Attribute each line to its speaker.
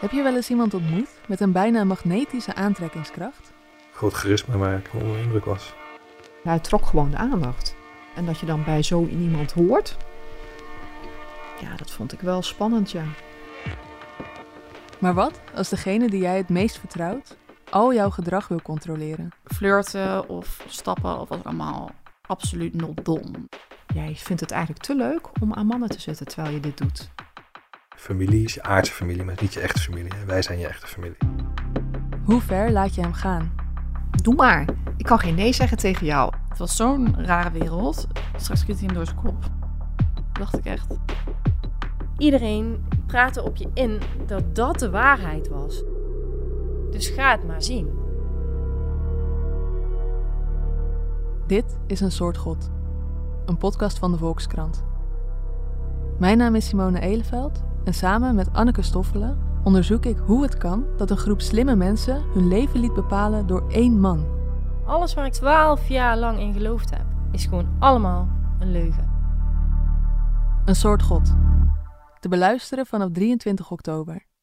Speaker 1: Heb je wel eens iemand ontmoet met een bijna magnetische aantrekkingskracht?
Speaker 2: Groot charisma waar ik onder de indruk was.
Speaker 3: Hij trok gewoon de aandacht. En dat je dan bij zo iemand hoort. Ja, dat vond ik wel spannend, ja.
Speaker 1: Maar wat als degene die jij het meest vertrouwt al jouw gedrag wil controleren?
Speaker 4: Flirten of stappen of wat allemaal. Absoluut not dom.
Speaker 3: Jij vindt het eigenlijk te leuk om aan mannen te zitten terwijl je dit doet.
Speaker 2: Familie is je aardse familie, maar niet je echte familie. En wij zijn je echte familie.
Speaker 1: Hoe ver laat je hem gaan?
Speaker 3: Doe maar. Ik kan geen nee zeggen tegen jou.
Speaker 4: Het was zo'n rare wereld. Straks schiet hij hem door zijn kop. Dacht ik echt.
Speaker 5: Iedereen praatte op je in dat dat de waarheid was. Dus ga het maar zien.
Speaker 1: Dit is een soort God. Een podcast van de Volkskrant. Mijn naam is Simone Eleveld en samen met Anneke Stoffelen onderzoek ik hoe het kan dat een groep slimme mensen hun leven liet bepalen door één man.
Speaker 5: Alles waar ik 12 jaar lang in geloofd heb, is gewoon allemaal een leugen.
Speaker 1: Een soort God. Te beluisteren vanaf 23 oktober.